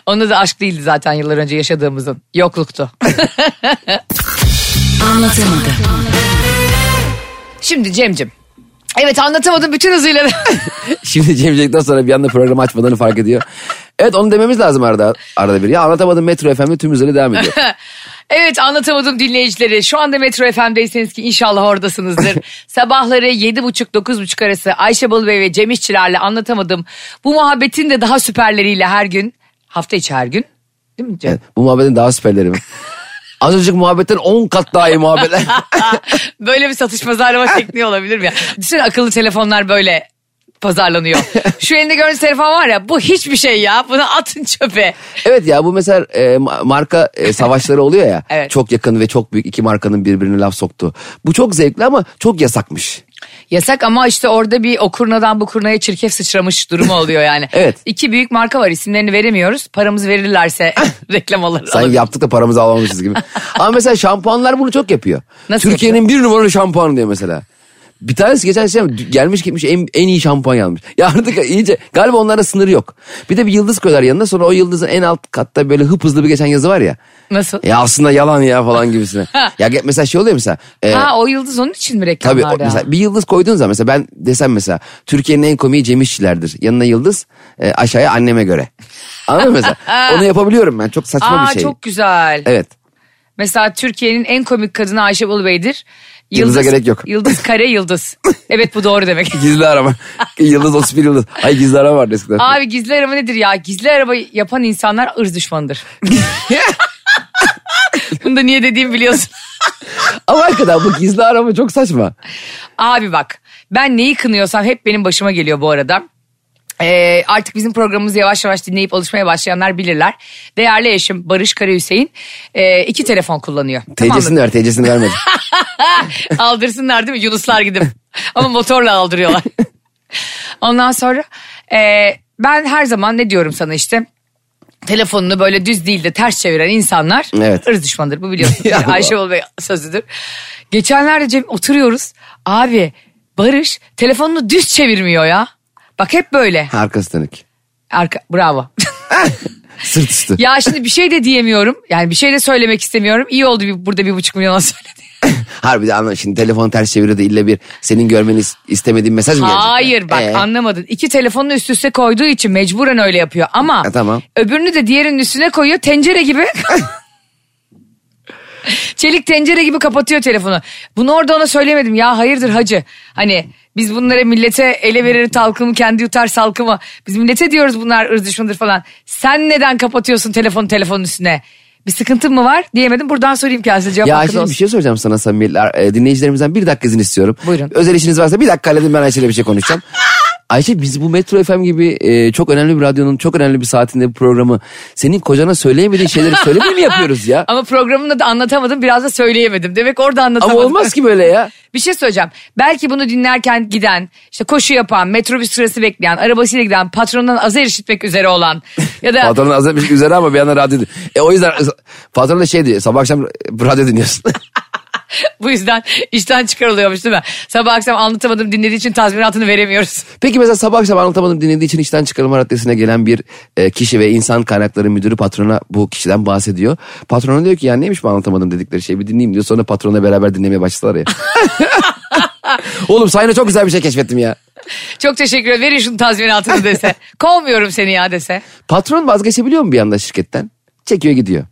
Onda da aşk değildi zaten yıllar önce yaşadığımızın. Yokluktu.
Anlatamadım.
Şimdi Cem'cim. Evet anlatamadım bütün hızıyla. <laughs>
Şimdi Cemcek'ten sonra bir anda programı açmadığını fark ediyor. Evet onu dememiz lazım arada, arada bir. Ya anlatamadım Metro FM'de tüm üzeri devam ediyor.
evet anlatamadım dinleyicileri. Şu anda Metro FM'deyseniz ki inşallah oradasınızdır. Sabahları 7.30-9.30 arası Ayşe Balıbey ve Cem İşçilerle anlatamadım. Bu muhabbetin de daha süperleriyle her gün. Hafta içi her gün. Değil mi Cem?
Evet, bu muhabbetin daha süperleri mi? Az önceki muhabbetten 10 kat daha iyi muhabbetler.
Böyle bir satış pazarlama <laughs> tekniği olabilir mi? ya? Düşünsene akıllı telefonlar böyle pazarlanıyor. Şu elinde gördüğünüz telefon var ya bu hiçbir şey ya. Bunu atın çöpe.
evet ya bu mesela e, ma- marka e, savaşları oluyor ya.
Evet.
Çok yakın ve çok büyük iki markanın birbirine laf soktuğu. Bu çok zevkli ama çok yasakmış.
Yasak ama işte orada bir o kurnadan bu kurnaya çirkef sıçramış durumu oluyor <laughs> yani.
Evet.
İki büyük marka var isimlerini veremiyoruz. Paramızı verirlerse <laughs> reklam alırız.
Sanki yaptık da paramızı
<laughs>
alamamışız gibi. Ama mesela şampuanlar bunu çok yapıyor.
Nasıl
Türkiye'nin bir numaralı şampuanı diyor mesela. Bir tanesi geçen sene gelmiş gitmiş en, en iyi şampuanya almış. <laughs> Ya artık iyice galiba onlara sınırı yok. Bir de bir yıldız koyar yanına sonra o yıldızın en alt katta böyle hıp hızlı bir geçen yazı var ya.
Nasıl?
Ya aslında yalan ya
<laughs>
falan gibisine. ya ge- mesela şey oluyor mesela. e,
Ha o yıldız onun için mi
Tabii o-
reklamlarda?
mesela bir yıldız koyduğun zaman mesela ben desem mesela Türkiye'nin en komiği Cem İşçiler'dir. Yanına yıldız e, aşağıya anneme göre. Anladın
<laughs>
mı mesela? Onu yapabiliyorum ben çok saçma
Aa
bir şey.
çok güzel.
Evet.
Mesela Türkiye'nin en komik kadını Ayşe Bulbey'dir.
Yıldıza gerek yok.
Yıldız kare <laughs> yıldız. evet bu doğru demek.
Gizli arama. Yıldız 31 yıldız. Ay gizli arama vardı eskiden.
Abi gizli araba nedir ya? Gizli araba yapan insanlar ırz düşmanıdır. Bunu da niye dediğimi biliyorsun.
Ama hakikaten bu gizli arama çok saçma.
Abi bak ben neyi kınıyorsam hep benim başıma geliyor bu arada. Ee, artık bizim programımızı yavaş yavaş dinleyip alışmaya başlayanlar bilirler. Değerli eşim Barış Kara Hüseyin e, iki telefon kullanıyor. Tamam mı?
TC'sini ver TC'sini vermedi.
Aldırsınlar değil mi? Yunuslar gidip. Ama motorla aldırıyorlar. Ondan sonra e, ben her zaman ne diyorum sana işte telefonunu böyle düz değil de ters çeviren insanlar
Evet.
ırz düşmanıdır. Bu biliyorsun.
<laughs> Ya Allah.
Ayşe Bey sözüdür. Geçenlerde Cem oturuyoruz. Abi Barış telefonunu düz çevirmiyor ya. Bak hep böyle.
Arkası dönük.
Arka, bravo. <laughs>
Sırt üstü.
ya şimdi bir şey de diyemiyorum. Yani bir şey de söylemek istemiyorum. İyi oldu bir, burada bir buçuk milyona söyledi.
Harbi de anla şimdi telefonu ters çeviriyor da illa bir senin görmeni is- istemediğin mesaj mı gelecek?
Hayır bak
Ee,
anlamadın. İki telefonun üst üste koyduğu için mecburen öyle yapıyor ama
Ha, E, tamam.
öbürünü de diğerinin üstüne koyuyor tencere
<laughs>
gibi. Çelik tencere gibi kapatıyor telefonu. Bunu orada ona söylemedim ya hayırdır hacı. Hani biz bunlara millete ele verir talkımı kendi yutar salkımı. Biz millete diyoruz bunlar ırz düşmanıdır falan. Sen neden kapatıyorsun telefonu telefonun üstüne? Bir sıkıntın mı var diyemedim. Buradan sorayım kendisine cevap
Ya
hakkın
Ayşe
olsun.
bir şey soracağım sana samimiler. E, dinleyicilerimizden bir dakika izin istiyorum.
Buyurun.
Özel işiniz varsa bir dakika halledin ben Ayşe'yle bir
<laughs>
şey konuşacağım. Ayşe biz bu Metro FM gibi e, çok önemli bir radyonun çok önemli bir saatinde bir programı senin kocana söyleyemediğin şeyleri söylemeye mi yapıyoruz ya?
Ama programında da anlatamadım biraz da söyleyemedim. Demek orada
Ama
anlatamadım.
olmaz ki böyle ya.
<laughs> Bir şey söyleyeceğim. Belki bunu dinlerken giden, işte koşu yapan, metrobüs sırası bekleyen, arabasıyla giden, patronundan azar işitmek üzere olan ya da
Patronun az etmiş üzere ama bir yandan radyo dinliyor. E o yüzden patron da şey diyor sabah akşam radyo dinliyorsun.
<laughs>
<laughs>
bu yüzden işten çıkarılıyormuş değil mi? Sabah akşam anlatamadım dinlediği için tazminatını veremiyoruz. <laughs>
Peki mesela sabah akşam anlatamadım dinlediği için işten çıkarılma raddesine gelen bir e, kişi ve insan kaynakları müdürü patrona bu kişiden bahsediyor. Patrona diyor ki ya neymiş bu anlatamadım dedikleri şey bir dinleyeyim diyor. Sonra patronla beraber dinlemeye başladılar ya. <laughs> Oğlum sayına çok güzel bir şey keşfettim ya.
Çok teşekkür ederim. Verin şunu tazminatını
<laughs>
dese. Kovmuyorum seni ya dese. <laughs>
Patron vazgeçebiliyor mu bir anda şirketten? Çekiyor gidiyor.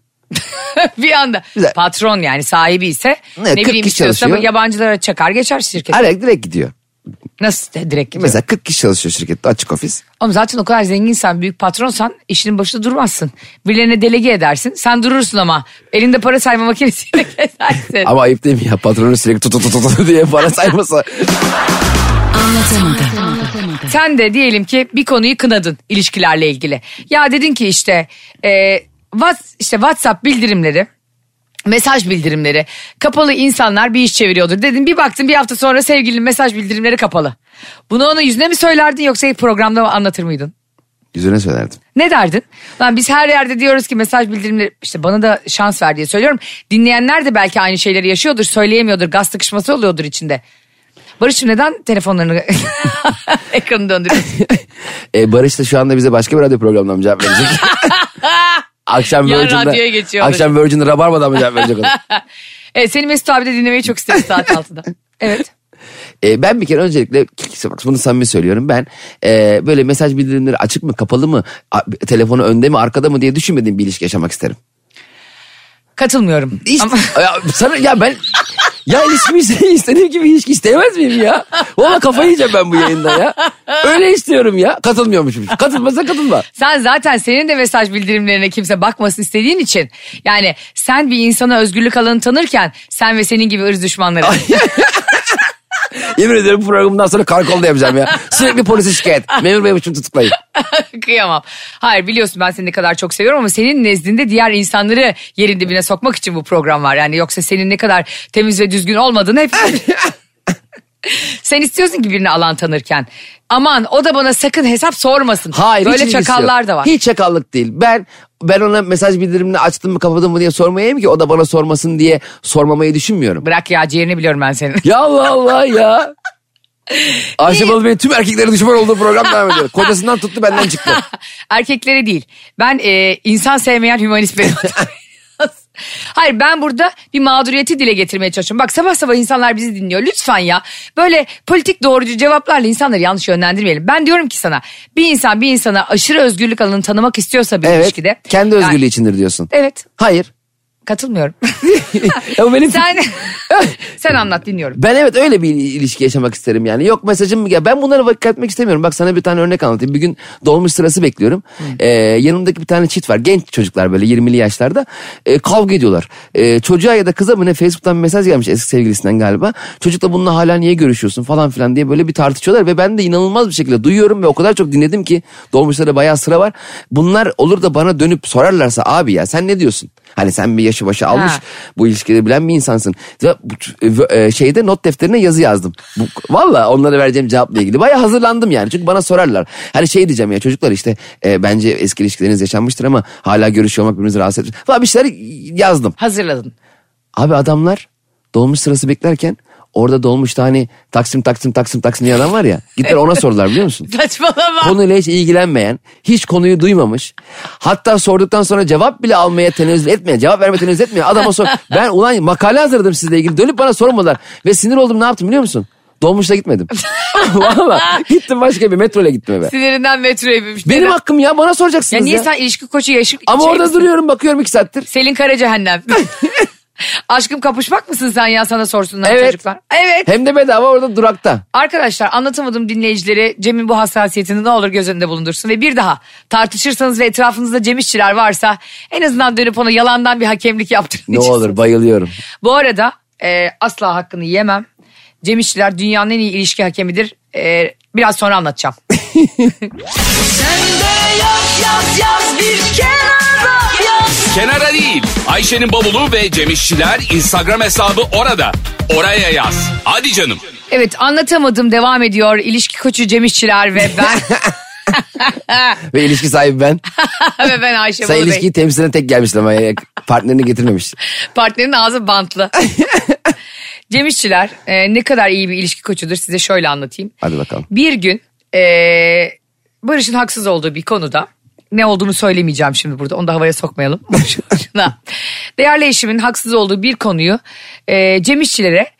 bir anda.
Güzel.
Patron yani sahibi ise
Evet,
ne
40
bileyim
kişi
istiyorsa
çalışıyor.
yabancılara çakar geçer şirket.
Araya direkt gidiyor.
Nasıl direkt gidiyor?
Mesela 40 kişi çalışıyor şirkette açık ofis.
Oğlum zaten o kadar zenginsen, büyük patronsan işinin başında durmazsın. Birilerine delege edersin. Sen durursun ama. Elinde para sayma makinesiyle <laughs> gezersin.
Ama ayıp değil mi ya patronun sürekli tut tut tut tut diye para sayması.
Anlatamadım.
Sen de diyelim ki bir konuyu kınadın ilişkilerle ilgili. Ya dedin ki işte e, what, işte WhatsApp bildirimleri Mesaj bildirimleri. Kapalı insanlar bir iş çeviriyordur. Dedim bir baktın bir hafta sonra sevgilinin mesaj bildirimleri kapalı. Bunu ona yüzüne mi söylerdin yoksa programda mı anlatır mıydın?
Yüzüne söylerdim. <laughs>
Ne derdin? Lan biz her yerde diyoruz ki mesaj bildirimleri işte bana da şans ver diye söylüyorum. Dinleyenler de belki aynı şeyleri yaşıyordur, söyleyemiyordur, gaz sıkışması oluyordur içinde. Barış'ım neden telefonlarını <laughs> ekranı döndürüyorsun?
E, Barış da şu anda bize başka bir radyo programından mı
<laughs>
cevap verecek? akşam
Yan radyoya
Virgin'de,
geçiyor
akşam Virgin'de Rabarba'dan mı cevap
<laughs>
verecek ona?
evet, E, seni Mesut abi de dinlemeyi çok isterim saat 6'da. Evet.
E, ben bir kere öncelikle bunu samimi söylüyorum ben e, böyle mesaj bildirimleri açık mı kapalı mı a- telefonu önde mi arkada mı diye düşünmediğim bir ilişki yaşamak isterim.
Katılmıyorum.
İşte,
Ama-
<laughs> ya, sana, ya ben ya ilişkimi iste- istediğim gibi ilişki isteyemez miyim ya? Valla kafayı yiyeceğim ben bu yayında ya. Öyle istiyorum ya. Katılmıyormuşum. Katılmasa katılma.
Sen zaten senin de mesaj bildirimlerine kimse bakmasın istediğin için. Yani sen bir insana özgürlük alanı tanırken sen ve senin gibi ırz düşmanları.
Yemin ederim programından sonra karakolda yapacağım ya. Sürekli polise şikayet. Memur bey için tutuklayın.
<laughs> Kıyamam. Hayır biliyorsun ben seni ne kadar çok seviyorum ama senin nezdinde diğer insanları yerin dibine sokmak için bu program var. Yani yoksa senin ne kadar temiz ve düzgün olmadığını
<laughs>
hep... Sen istiyorsun ki birini alan tanırken. Aman o da bana sakın hesap sormasın.
Hayır hiç
Böyle
ilgisi yok.
çakallar da var.
Hiç çakallık değil. Ben ben ona mesaj bildirimini açtım mı kapadım mı diye sormayayım ki o da bana sormasın diye sormamayı düşünmüyorum.
Bırak ya ciğerini biliyorum ben senin.
Ya Allah Allah
<laughs>
ya. Ayşe Balı Bey tüm erkeklere düşman olduğu program devam ediyor. Kocasından tuttu benden çıktı.
Erkeklere değil. Ben e, insan sevmeyen hümanist bir <laughs> Hayır ben burada bir mağduriyeti dile getirmeye çalışıyorum. Bak sabah sabah insanlar bizi dinliyor. Lütfen ya böyle politik doğrucu cevaplarla insanları yanlış yönlendirmeyelim. Ben diyorum ki sana bir insan bir insana aşırı özgürlük alanını tanımak istiyorsa <laughs> bir
Evet.
ilişkide.
Kendi
Yani-
özgürlüğü içindir diyorsun.
evet
Hayır.
katılmıyorum.
Ya bu <laughs> benim
sen, <laughs> sen anlat dinliyorum.
Ben evet öyle bir ilişki yaşamak isterim yani. Yok mesajım ya ben bunlara vakit etmek istemiyorum. Bak sana bir tane örnek anlatayım. Bir gün dolmuş sırası bekliyorum. Ee, yanımdaki bir tane çift var. Genç çocuklar böyle 20'li yaşlarda. Ee, kavga ediyorlar. Ee, çocuğa ya da kıza mı ne Facebook'tan bir mesaj gelmiş eski sevgilisinden galiba. Çocukla bununla hala niye görüşüyorsun falan filan diye böyle bir tartışıyorlar. Ve ben de inanılmaz bir şekilde duyuyorum ve o kadar çok dinledim ki dolmuşlara bayağı sıra var. Bunlar olur da bana dönüp sorarlarsa abi ya sen ne diyorsun? Hani sen bir yaşı başı almış
Ha.
bu ilişkileri bilen bir insansın. Ve bu- e, v- e, şeyde not defterine yazı yazdım. Bu, valla onlara vereceğim cevapla ilgili. Baya hazırlandım yani. Çünkü bana sorarlar. Hani şey diyeceğim ya çocuklar işte e, bence eski ilişkileriniz yaşanmıştır ama hala görüşüyor olmak birbirimizi rahatsız etmiş. Falan bir şeyler yazdım.
Hazırladın.
Abi adamlar dolmuş sırası beklerken orada dolmuşta hani Taksim Taksim Taksim Taksim diye adam var ya. Gittiler ona sordular biliyor musun?
Saçmalama.
<laughs> konuyla hiç ilgilenmeyen, hiç konuyu duymamış. Hatta sorduktan sonra cevap bile almaya tenezzül etmeyen, cevap vermeye tenezzül etmeyen
<laughs>
adama sor. Ben ulan makale hazırladım sizle ilgili dönüp bana sormadılar. Ve sinir oldum ne yaptım biliyor musun?
<laughs>
Dolmuşla gitmedim. Valla gittim başka bir metroyla gittim eve.
Sinirinden metroya binmiş.
Benim
Neden?
hakkım ya bana
Ya
soracaksınız ya.
niye sen ilişki koçu yaşık?
Ama
şey
orada
misin?
duruyorum bakıyorum iki saattir.
Selin Kara Cehennem. Aşkım kapışmak mısın sen ya sana sorsunlar
Evet.
çocuklar. Evet.
Hem de bedava orada durakta.
Arkadaşlar anlatamadım dinleyicilere Cem'in bu hassasiyetini ne olur göz önünde bulundursun. Ve bir daha tartışırsanız ve etrafınızda Cem işçiler varsa en azından dönüp ona yalandan bir hakemlik yaptırın.
Ne olur bayılıyorum.
Bu arada e, asla hakkını yemem. Cem İşçiler dünyanın en iyi ilişki hakemidir. E, biraz sonra anlatacağım.
Kenara değil. Ayşe'nin bavulu ve Cemişçiler Instagram hesabı orada. Oraya yaz. Hadi canım.
Evet anlatamadım devam ediyor. İlişki koçu Cem İşçiler ve ben, <laughs>
Ve ilişki sahibi ben.
ve ben Ayşe
Sen
Balı Bey.
ilişkiyi temsilen tek gelmişsin ama e, partnerini getirmemiş.
Partnerin ağzı
<laughs>
bantlı. Cem İşçiler e, ne kadar iyi bir ilişki koçudur size şöyle anlatayım.
Hadi bakalım.
Bir gün e, Barış'ın haksız olduğu bir konuda ne olduğunu söylemeyeceğim şimdi burada onu da havaya
<laughs>
sokmayalım. Boşuna. <laughs> Değerli eşimin haksız olduğu bir konuyu e, Cem İşçilere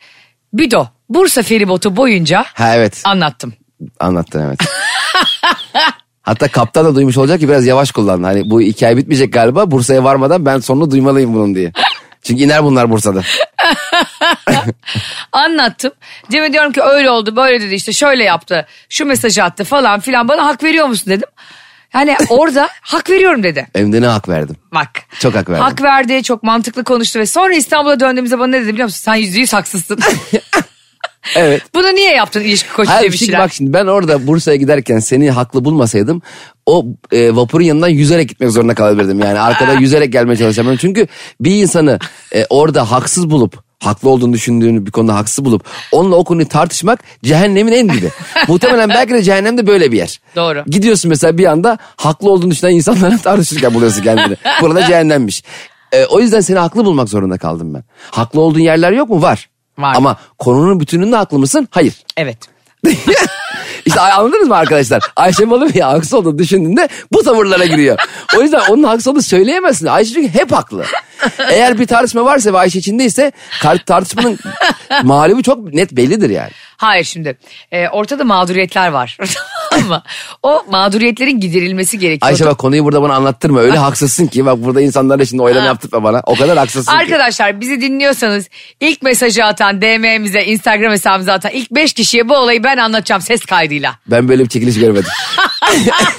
Bido Bursa feribotu boyunca
Ha evet.
anlattım.
Anlattın evet. <laughs> Hatta kaptan da duymuş olacak ki biraz yavaş kullan. Hani bu hikaye bitmeyecek galiba. Bursa'ya varmadan ben sonunu duymalıyım bunun diye. Çünkü iner bunlar Bursa'da.
Anlattım. Cem'e diyorum ki öyle oldu böyle dedi işte şöyle yaptı şu mesajı attı falan filan bana hak veriyor musun dedim. Yani orada hak veriyorum dedi.
Hem de ne hak verdim.
Bak.
Çok hak verdim.
Hak verdi, çok mantıklı konuştu ve sonra İstanbul'a döndüğümüzde bana ne dedi biliyor musun? Sen yüzde yüz
<laughs>
haksızsın.
Evet.
Bunu niye yaptın ilişki koçu
Hayır şey
demişler.
şimdi bak şimdi ben orada Bursa'ya giderken seni haklı bulmasaydım o e, vapurun yanından yüzerek gitmek zorunda kalabilirdim.
<laughs>
Yani arkada yüzerek gelmeye çalışacağım. Çünkü bir insanı e, orada haksız bulup haklı olduğunu düşündüğünü bir konuda haksız bulup onunla o konuyu tartışmak cehennemin en
<laughs>
dibi. Muhtemelen belki de cehennemde böyle bir yer.
Doğru.
Gidiyorsun mesela bir anda haklı olduğunu düşünen insanlarla <laughs> tartışırken buluyorsun kendini. Burada cehennemmiş. E, o yüzden seni haklı bulmak zorunda kaldım ben. Haklı olduğun yerler yok mu? Var.
Var.
Ama konunun bütününde haklı mısın? Hayır.
Evet.
<laughs> İşte anladınız mı arkadaşlar? Ayşe Balı Bey haksız olduğunu düşündüğünde bu tavırlara giriyor. O yüzden onun haksız olduğunu söyleyemezsin. Ayşe çünkü hep haklı. Eğer bir tartışma varsa ve Ayşe içindeyse kar- tartışmanın mağlubu çok net bellidir yani.
Hayır şimdi e, ortada mağduriyetler var. <laughs> Ama o mağduriyetlerin giderilmesi gerekiyor.
Ayşe bak konuyu burada bana anlattırma. Öyle haksızsın ki bak burada insanlarla şimdi oylama yaptırma bana. O kadar haksızsın ki.
Arkadaşlar bizi dinliyorsanız ilk mesajı atan DM'mize Instagram hesabımıza atan ilk 5 kişiye bu olayı ben anlatacağım ses kaydıyla.
Ben böyle bir çekiliş görmedim. <laughs>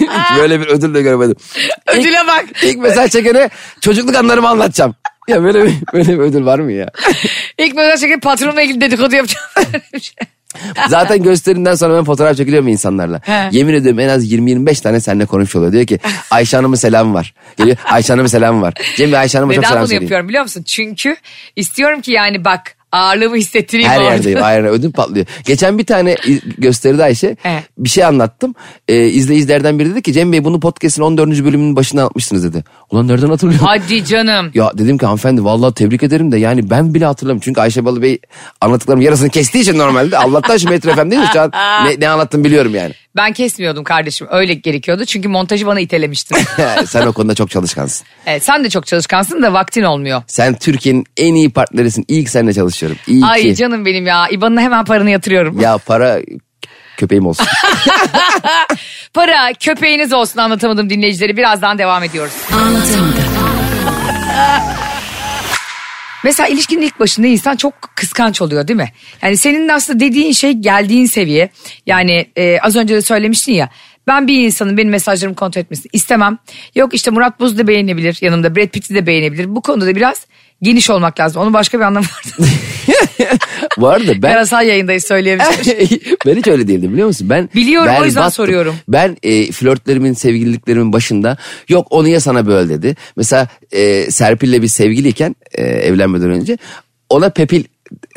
Hiç böyle bir ödül de görmedim.
Ödüle
<laughs>
bak.
İlk mesaj çekene çocukluk anılarımı anlatacağım. Ya böyle bir, böyle bir ödül var mı ya?
İlk mesaj çekip patronla ilgili dedikodu yapacağım.
<laughs>
<laughs>
Zaten gösterimden sonra ben fotoğraf çekiliyorum insanlarla.
He.
Yemin ediyorum en az 20-25 tane seninle konuşmuş oluyor. Diyor ki
<laughs>
Ayşe Hanım'ın selamı var. Geliyor Ayşe Hanım'ın selamı var. Cem Bey Ayşe Hanım'a çok
Neden bunu
selam söyleyin.
yapıyorum biliyor musun? Çünkü istiyorum ki yani bak ağırlığımı hissettireyim.
Her
orada.
yerdeyim aynen ödüm patlıyor. Geçen bir tane i- gösteride Ayşe
He.
bir şey anlattım. Ee, izleyicilerden biri dedi ki Cem Bey bunu podcast'in 14. bölümünün başına atmışsınız dedi. Ulan nereden hatırlıyorum?
<laughs> Hadi canım.
Ya dedim ki hanımefendi vallahi tebrik ederim de yani ben bile hatırlamıyorum. Çünkü Ayşe Balı Bey anlattıklarımın yarısını kestiği için normalde. Allah'tan şu Metro FM değil mi?
<laughs>
Şu an ne, ne anlattım biliyorum yani.
Ben kesmiyordum kardeşim öyle gerekiyordu. Çünkü montajı bana
<laughs>
itelemiştin.
Sen o konuda çok çalışkansın.
evet, sen de çok çalışkansın da vaktin olmuyor.
Sen Türkiye'nin en iyi partnerisin. İyi ki seninle çalışıyorum. İyi
Ay
ki.
canım benim ya. İban'ına hemen paranı yatırıyorum.
Ya para köpeğim olsun.
Para köpeğiniz olsun anlatamadım dinleyicileri. Birazdan devam ediyoruz. Mesela ilişkinin ilk başında insan çok kıskanç oluyor değil mi? Yani senin de aslında dediğin şey geldiğin seviye. Yani e, az önce de söylemiştin ya. Ben bir insanın benim mesajlarımı kontrol etmesini istemem. Yok işte Murat Buz da beğenebilir yanımda. Brad Pitt'i de beğenebilir. Bu konuda da biraz geniş olmak lazım. Onun başka bir anlamı vardı.
Bu
<laughs>
arada ben...
Yarasal yayındayız söyleyebilirim.
<laughs> ben hiç öyle değildim biliyor musun? Ben
Biliyorum, o yüzden
berbattım.
soruyorum.
Ben e, flörtlerimin, sevgililiklerimin başında yok onu ya sana böyle dedi. Mesela e, Serpil'le bir sevgiliyken e, evlenmeden önce ona Pepil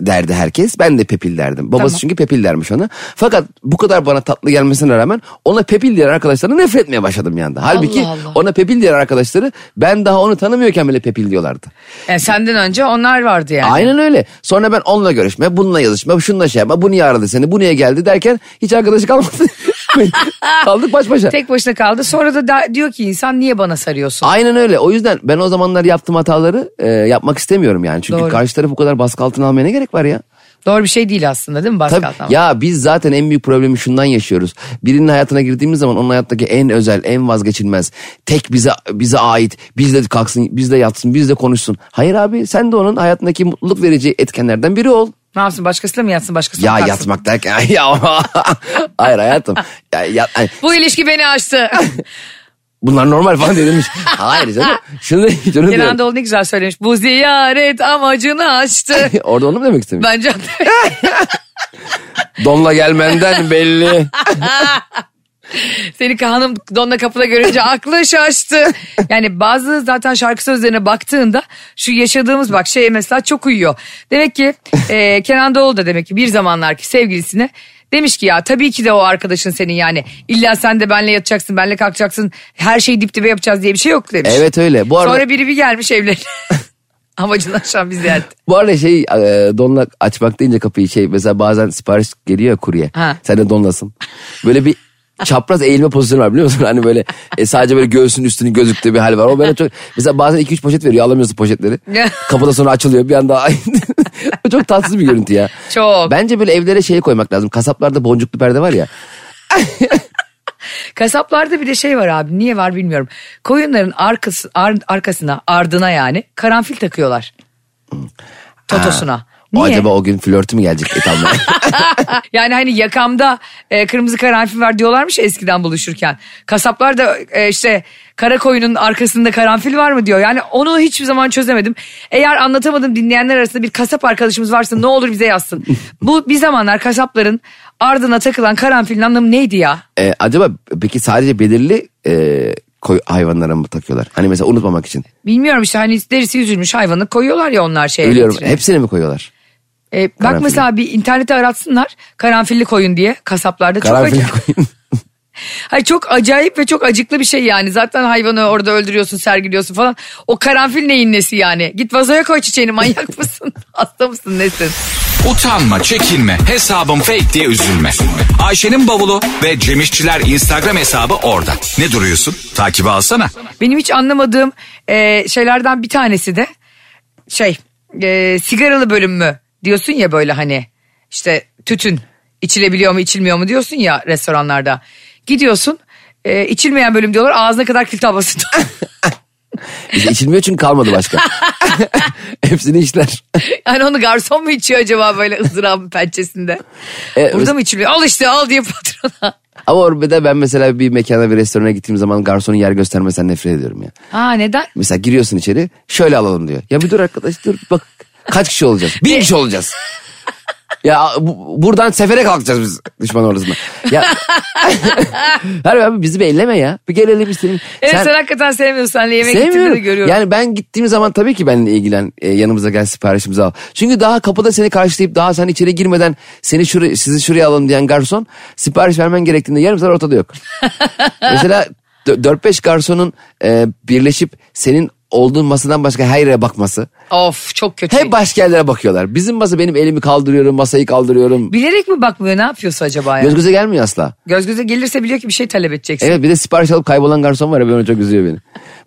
derdi herkes. Ben de Pepil derdim. Babası
Tamam.
çünkü Pepil dermiş ona. Fakat bu kadar bana tatlı gelmesine rağmen ona Pepil diyen arkadaşlarına nefret etmeye başladım bir anda. Halbuki
Allah.
ona Pepil diyen arkadaşları ben daha onu tanımıyorken bile Pepil diyorlardı.
Yani senden önce onlar vardı yani.
Aynen öyle. Sonra ben onunla görüşme, bununla yazışma, şununla şey yapma, bu niye aradı seni, bu niye geldi derken hiç
<laughs>
arkadaşı kalmadı. Kaldık baş başa.
Tek başına kaldı. Sonra da, da- diyor ki insan niye bana sarıyorsun?
Aynen öyle. O yüzden ben o zamanlar yaptığım hataları e, yapmak istemiyorum yani. Çünkü
Doğru.
karşı tarafı bu kadar baskı altına almaya ne gerek var ya?
Doğru bir şey değil aslında değil mi Pascal?
Tabii.
Tamam.
Ya biz zaten en büyük problemi şundan yaşıyoruz. Birinin hayatına girdiğimiz zaman onun hayattaki en özel, en vazgeçilmez, tek bize bize ait, bizle kalksın, bizle yatsın, bizle konuşsun. Hayır abi sen de onun hayatındaki mutluluk verici etkenlerden biri ol.
Ne yapsın başkasıyla mı yatsın başkasıyla
Ya
mı kalksın?
yatmak derken <laughs> ya hayır hayatım. Ya, ya- ay,
Bu ilişki beni
<laughs>
açtı.
bunlar normal falan denilmiş. Hayır canım. Şunu, şunu
Kenan
diyorum.
Doğulu ne güzel söylemiş. Bu ziyaret amacını açtı.
Orada onu mu demek istemiş?
Bence
Donla gelmenden belli.
seni hanım donla kapıda
<laughs>
görünce aklı şaştı. Yani bazı zaten şarkı sözlerine baktığında şu yaşadığımız bak şeye mesela çok uyuyor. Demek ki
<laughs>
e, Kenan Doğulu da demek ki bir zamanlar ki sevgilisine demiş ki ya tabii ki de o arkadaşın senin yani illa sen de benle yatacaksın benle kalkacaksın her şeyi dip dibe yapacağız diye bir şey yok demiş.
Evet öyle. Bu arada,
Sonra biri bir gelmiş evlen. <laughs> Amacını aşan bir ziyaret.
bu arada şey e, donla açmak deyince kapıyı şey mesela bazen sipariş geliyor ya kurye.
Ha.
Sen de donlasın. Böyle bir çapraz eğilme pozisyonu var biliyor musun? <laughs> Hani böyle e, sadece böyle göğsünün üstünün gözüktüğü bir hal var. O bana çok mesela bazen 2-3 poşet veriyor
<laughs>
alamıyorsun poşetleri. Kapıda sonra açılıyor bir anda. <laughs> O çok tatsız bir görüntü ya.
Çok.
Bence böyle evlere şey koymak lazım. Kasaplarda boncuklu perde var ya.
Kasaplarda bir de şey var abi niye var bilmiyorum. Koyunların arkası, ar- arkasına ardına yani karanfil takıyorlar. Totosuna.
O
Niye?
acaba o gün flörtü mü gelecek et almaya?
<laughs> Yani hani yakamda e, kırmızı karanfil var diyorlarmış ya eskiden buluşurken. Kasaplar da e, işte kara koyunun arkasında karanfil var mı diyor. Yani onu hiçbir zaman çözemedim. Eğer anlatamadım dinleyenler arasında bir kasap arkadaşımız varsa ne olur bize yazsın. Bu bir zamanlar kasapların ardına takılan karanfilin anlamı neydi ya?
E, acaba peki sadece belirli e, koy, hayvanlara mı takıyorlar? Hani mesela unutmamak için.
Bilmiyorum işte hani derisi üzülmüş hayvanı koyuyorlar ya onlar şeye.
Biliyorum.
litre.
Hepsini mi koyuyorlar?
E, bak
Karanfil.
mesela bir internete aratsınlar karanfilli koyun diye kasaplarda çok
Karanfil
acayip.
<laughs> koyun.
Hayır, çok acayip ve çok acıklı bir şey yani. Zaten hayvanı orada öldürüyorsun, sergiliyorsun falan. O karanfil neyin nesi yani? Git vazoya koy çiçeğini manyak <laughs> mısın? Hasta mısın nesin?
Utanma, çekinme, hesabım fake diye üzülme. Ayşe'nin bavulu ve Cemişçiler Instagram hesabı orada. Ne duruyorsun? Takibi alsana.
Benim hiç anlamadığım e, şeylerden bir tanesi de şey e, sigaralı bölüm mü diyorsun ya böyle hani işte tütün içilebiliyor mu içilmiyor mu diyorsun ya restoranlarda. Gidiyorsun e, içilmeyen bölüm diyorlar ağzına kadar kil <laughs> tabası.
Bizde içilmiyor çünkü kalmadı
<laughs>
başka. Hepsini işler.
Yani onu garson mu içiyor acaba böyle ızdırabın pençesinde?
E,
Burada mı içiliyor? Al işte al diye patrona.
Ama orada ben mesela bir mekana bir restorana gittiğim zaman garsonun yer göstermesinden nefret ediyorum ya.
Ha neden?
Mesela giriyorsun içeri şöyle alalım diyor. Ya bir dur arkadaş dur bak kaç kişi olacağız? Bin kişi olacağız. Ya bu- buradan sefere kalkacağız biz düşman ordusuna. Ya
<laughs>
<laughs> Harbi abi bizi bir elleme ya. Bir gelelim istedim.
Evet sen, hakikaten sevmiyorsun. Senle yemek gittiğinde de
Sevmiyorum.
görüyorum.
Yani ben gittiğim zaman tabii ki benimle ilgilen e, yanımıza gel siparişimizi al. Çünkü daha kapıda seni karşılayıp daha sen içeri girmeden seni şuraya, sizi şuraya alalım diyen garson sipariş vermen gerektiğinde yarım saat
<laughs>
ortada yok. Mesela dö- 4-5 garsonun e, birleşip senin olduğun masadan başka her yere bakması.
Of çok kötü.
Hep başka yerlere bakıyorlar. Bizim masa benim elimi kaldırıyorum, masayı kaldırıyorum.
Bilerek mi bakmıyor ne yapıyorsa acaba ya?
Göz
Göz,
göze gelmiyor asla.
göze gelirse biliyor ki bir şey talep edeceksin.
Evet bir de sipariş alıp kaybolan garson var ya ben çok üzüyor beni.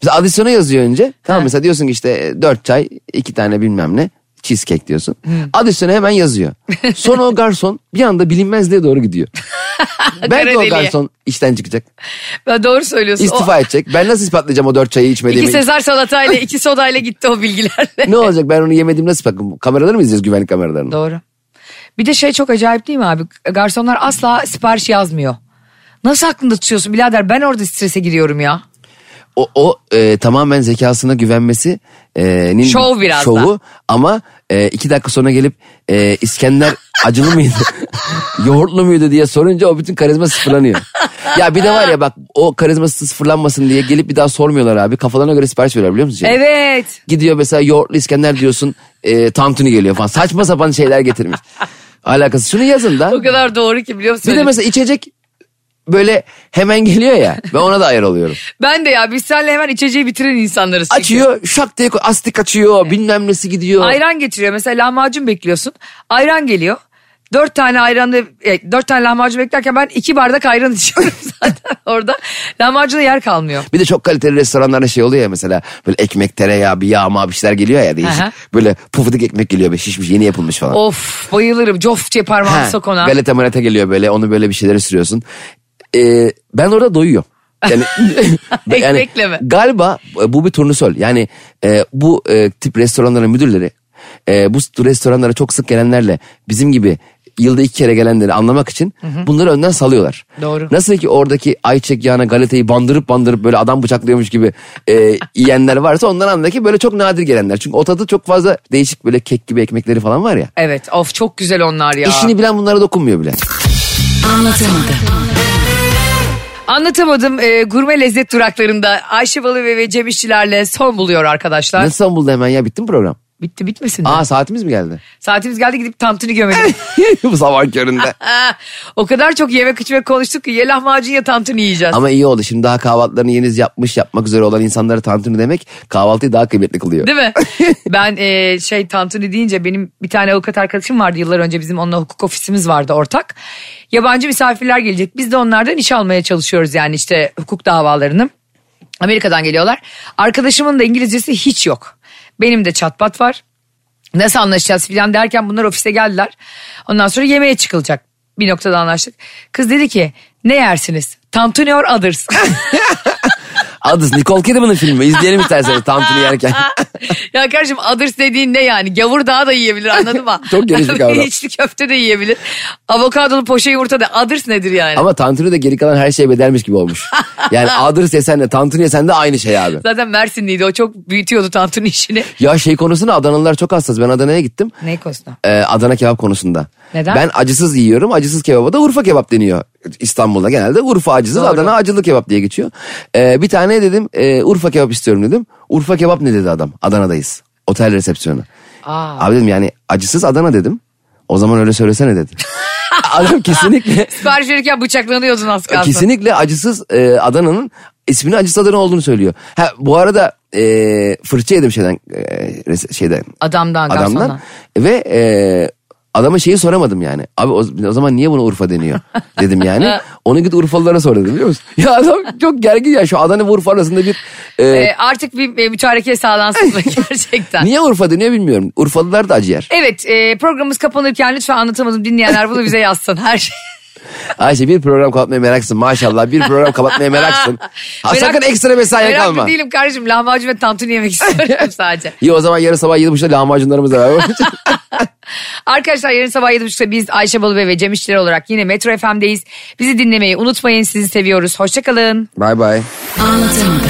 Mesela adisyonu yazıyor önce. Tamam mesela diyorsun ki işte 4 çay iki tane bilmem ne cheesecake diyorsun. Adisyonu
<laughs>
hemen yazıyor. Sonra o garson bir anda bilinmezliğe doğru gidiyor. Belki o
Karadeli'ye.
garson işten çıkacak.
Ben doğru söylüyorsun. <laughs>
istifa
O,
edecek. Ben nasıl ispatlayacağım o 4 çayı
iki
içmediğimi?
Sezar <laughs> salatayla iki sodayla gitti o bilgilerle.
Ne olacak ben onu yemedim nasıl bakın? Kameraları mı izleyeceğiz güvenlik kameralarını?
doğru. Bir de şey çok acayip değil mi abi? Garsonlar asla sipariş yazmıyor. Nasıl aklında tutuyorsun birader ben orada strese giriyorum ya.
o, o e, tamamen zekasına güvenmesi e, nin-
Şov biraz
şovu
da.
ama e, iki dakika sonra gelip e, İskender acılı mıydı <laughs> yoğurtlu muydu diye sorunca o bütün karizma sıfırlanıyor. ya bir de var ya bak o karizması sıfırlanmasın diye gelip bir daha sormuyorlar abi kafalarına göre sipariş veriyorlar biliyor musun? Cem?
Evet.
Gidiyor mesela yoğurtlu İskender diyorsun e, tantuni geliyor falan saçma sapan
<laughs>
şeyler getirmiş. Alakası şunu yazın da.
O kadar doğru ki biliyor musun?
Bir de
Öyle-
mesela içecek böyle hemen geliyor ya ben ona da ayar oluyorum.
Ben de ya biz seninle hemen içeceği bitiren insanlarız. çünkü.
Açıyor şak diye koy- astik açıyor bilmem nesi gidiyor.
Ayran getiriyor. Mesela lahmacun bekliyorsun. Ayran geliyor. Dört tane ayranlı, e, dört tane lahmacun beklerken ben iki bardak ayran içiyorum <laughs> zaten orada. Lahmacuna yer kalmıyor.
Bir de çok kaliteli restoranlarda şey oluyor ya mesela böyle ekmek tereyağı bir yağma bir şeyler geliyor ya değişik.
Aha.
Böyle pufidik ekmek geliyor böyle şişmiş yeni yapılmış falan.
Of bayılırım. Cof diye parmağını
Ha,
sok ona.
Galeta maleta geliyor böyle onu böyle bir şeylere sürüyorsun. Ee, ben orada doyuyorum.
<laughs>
Yani, <laughs>
Ekmekle mi?
Galiba e, bu bir turnusol. Yani e, bu e, tip restoranların müdürleri e, bu restoranlara çok sık gelenlerle bizim gibi yılda iki kere gelenleri anlamak için bunları önden salıyorlar.
Doğru.
Nasıl ki oradaki ayçek yağına galetayı bandırıp bandırıp böyle adam bıçaklıyormuş gibi
<laughs>
e, yiyenler varsa ondan andaki böyle çok nadir gelenler. Çünkü o tadı çok fazla değişik böyle kek gibi ekmekleri falan var ya.
Evet of çok güzel onlar ya.
İşini bilen bunlara dokunmuyor bile.
Anlatamadım e, gurme lezzet duraklarında Ayşe Balı ve Cem İşçilerle son buluyor arkadaşlar.
Nasıl İstanbul'da hemen ya bitti mi program?
Bitti bitmesin. de.
Aa saatimiz mi geldi?
Saatimiz geldi gidip tantuni gömelim.
<laughs>
<laughs>
Bu sabah köründe.
Ha, o kadar çok yemek içmek konuştuk ki ya lahmacun ya tantuni yiyeceğiz.
<laughs> Ama iyi oldu şimdi daha kahvaltılarını yeniz yapmış yapmak üzere olan insanlara tantuni demek kahvaltıyı daha kıymetli kılıyor. <laughs>
Değil mi? ben e, şey tantuni deyince benim bir tane avukat arkadaşım vardı yıllar önce bizim onunla hukuk ofisimiz vardı ortak. Yabancı misafirler gelecek. Biz de onlardan iş almaya çalışıyoruz yani işte hukuk davalarını. Amerika'dan geliyorlar. Arkadaşımın da İngilizcesi hiç yok. Benim de çatpat var. Nasıl anlaşacağız filan derken bunlar ofise geldiler. Ondan sonra yemeğe çıkılacak. Bir noktada anlaştık. Kız dedi ki ne yersiniz? Tantuni or others. <laughs>
Adı Nicole Kidman'ın filmi izleyelim <laughs> isterseniz tantuni yerken.
Ah. ya kardeşim others dediğin ne yani? Gavur daha da yiyebilir anladın mı?
<laughs> Çok geniş bir kavram.
İçli köfte de yiyebilir. Avokadolu poşe yumurta da others nedir yani?
Ama tantuni de geri kalan her şeye bedelmiş gibi olmuş. Yani adres yesen de tantuni yesen de aynı şey <laughs> abi.
Zaten Mersinliydi o çok büyütüyordu tantuni işini.
Ya şey konusunda Adanalılar çok hassas. Ben Adana'ya gittim.
Ne konusunda?
Ee, Adana kebap konusunda.
Neden?
Ben acısız yiyorum. Acısız kebaba da Urfa kebap deniyor. İstanbul'da genelde Urfa acısız Adana acılı kebap diye geçiyor. Ee, bir tane dedim e, Urfa kebap istiyorum dedim. Urfa kebap ne dedi adam? Adana'dayız. Otel resepsiyonu.
Aa.
Abi dedim yani acısız Adana dedim. O zaman öyle
<laughs>
söylesene dedi. adam kesinlikle
Sipariş verirken bıçaklanıyordun az kalsın.
Kesinlikle acısız e, Adana'nın ismini acısız Adana olduğunu söylüyor. Ha, bu arada e, fırça yedim şeyden e, res- şeyden
Adamdan,
adamdan
garsondan.
ve e, adama şeyi soramadım yani. Abi o, o zaman niye buna
<laughs>
Urfa deniyor dedim yani. Onu git Urfalılara sor dedim biliyor musun? <laughs> Ya adam çok gergin ya şu Adana ve Urfa arasında bir e,
Ee, artık bir e, mütareke sağlansın mı gerçekten.
niye Urfa deniyor bilmiyorum. Urfalılar da acı yer.
Evet e, programımız kapanırken lütfen anlatamadım dinleyenler bunu bize yazsın her şey.
Ayşe bir program kapatmaya meraksın maşallah bir program
<laughs>
kapatmaya meraksın. Ha,
Merak-
sakın ekstra mesaiye
Meraklı
kalma.
değilim kardeşim lahmacun ve tantuni yemek
<laughs>
istiyorum sadece.
İyi o zaman yarın sabah yedi buçukta
<laughs>
lahmacunlarımızla beraber.
Arkadaşlar yarın sabah 7.30'da biz Ayşe Balıbey ve Cem İşçiler olarak yine Metro FM'deyiz. Bizi dinlemeyi unutmayın sizi seviyoruz. Hoşçakalın.
Bye bye.
Anlatamadım.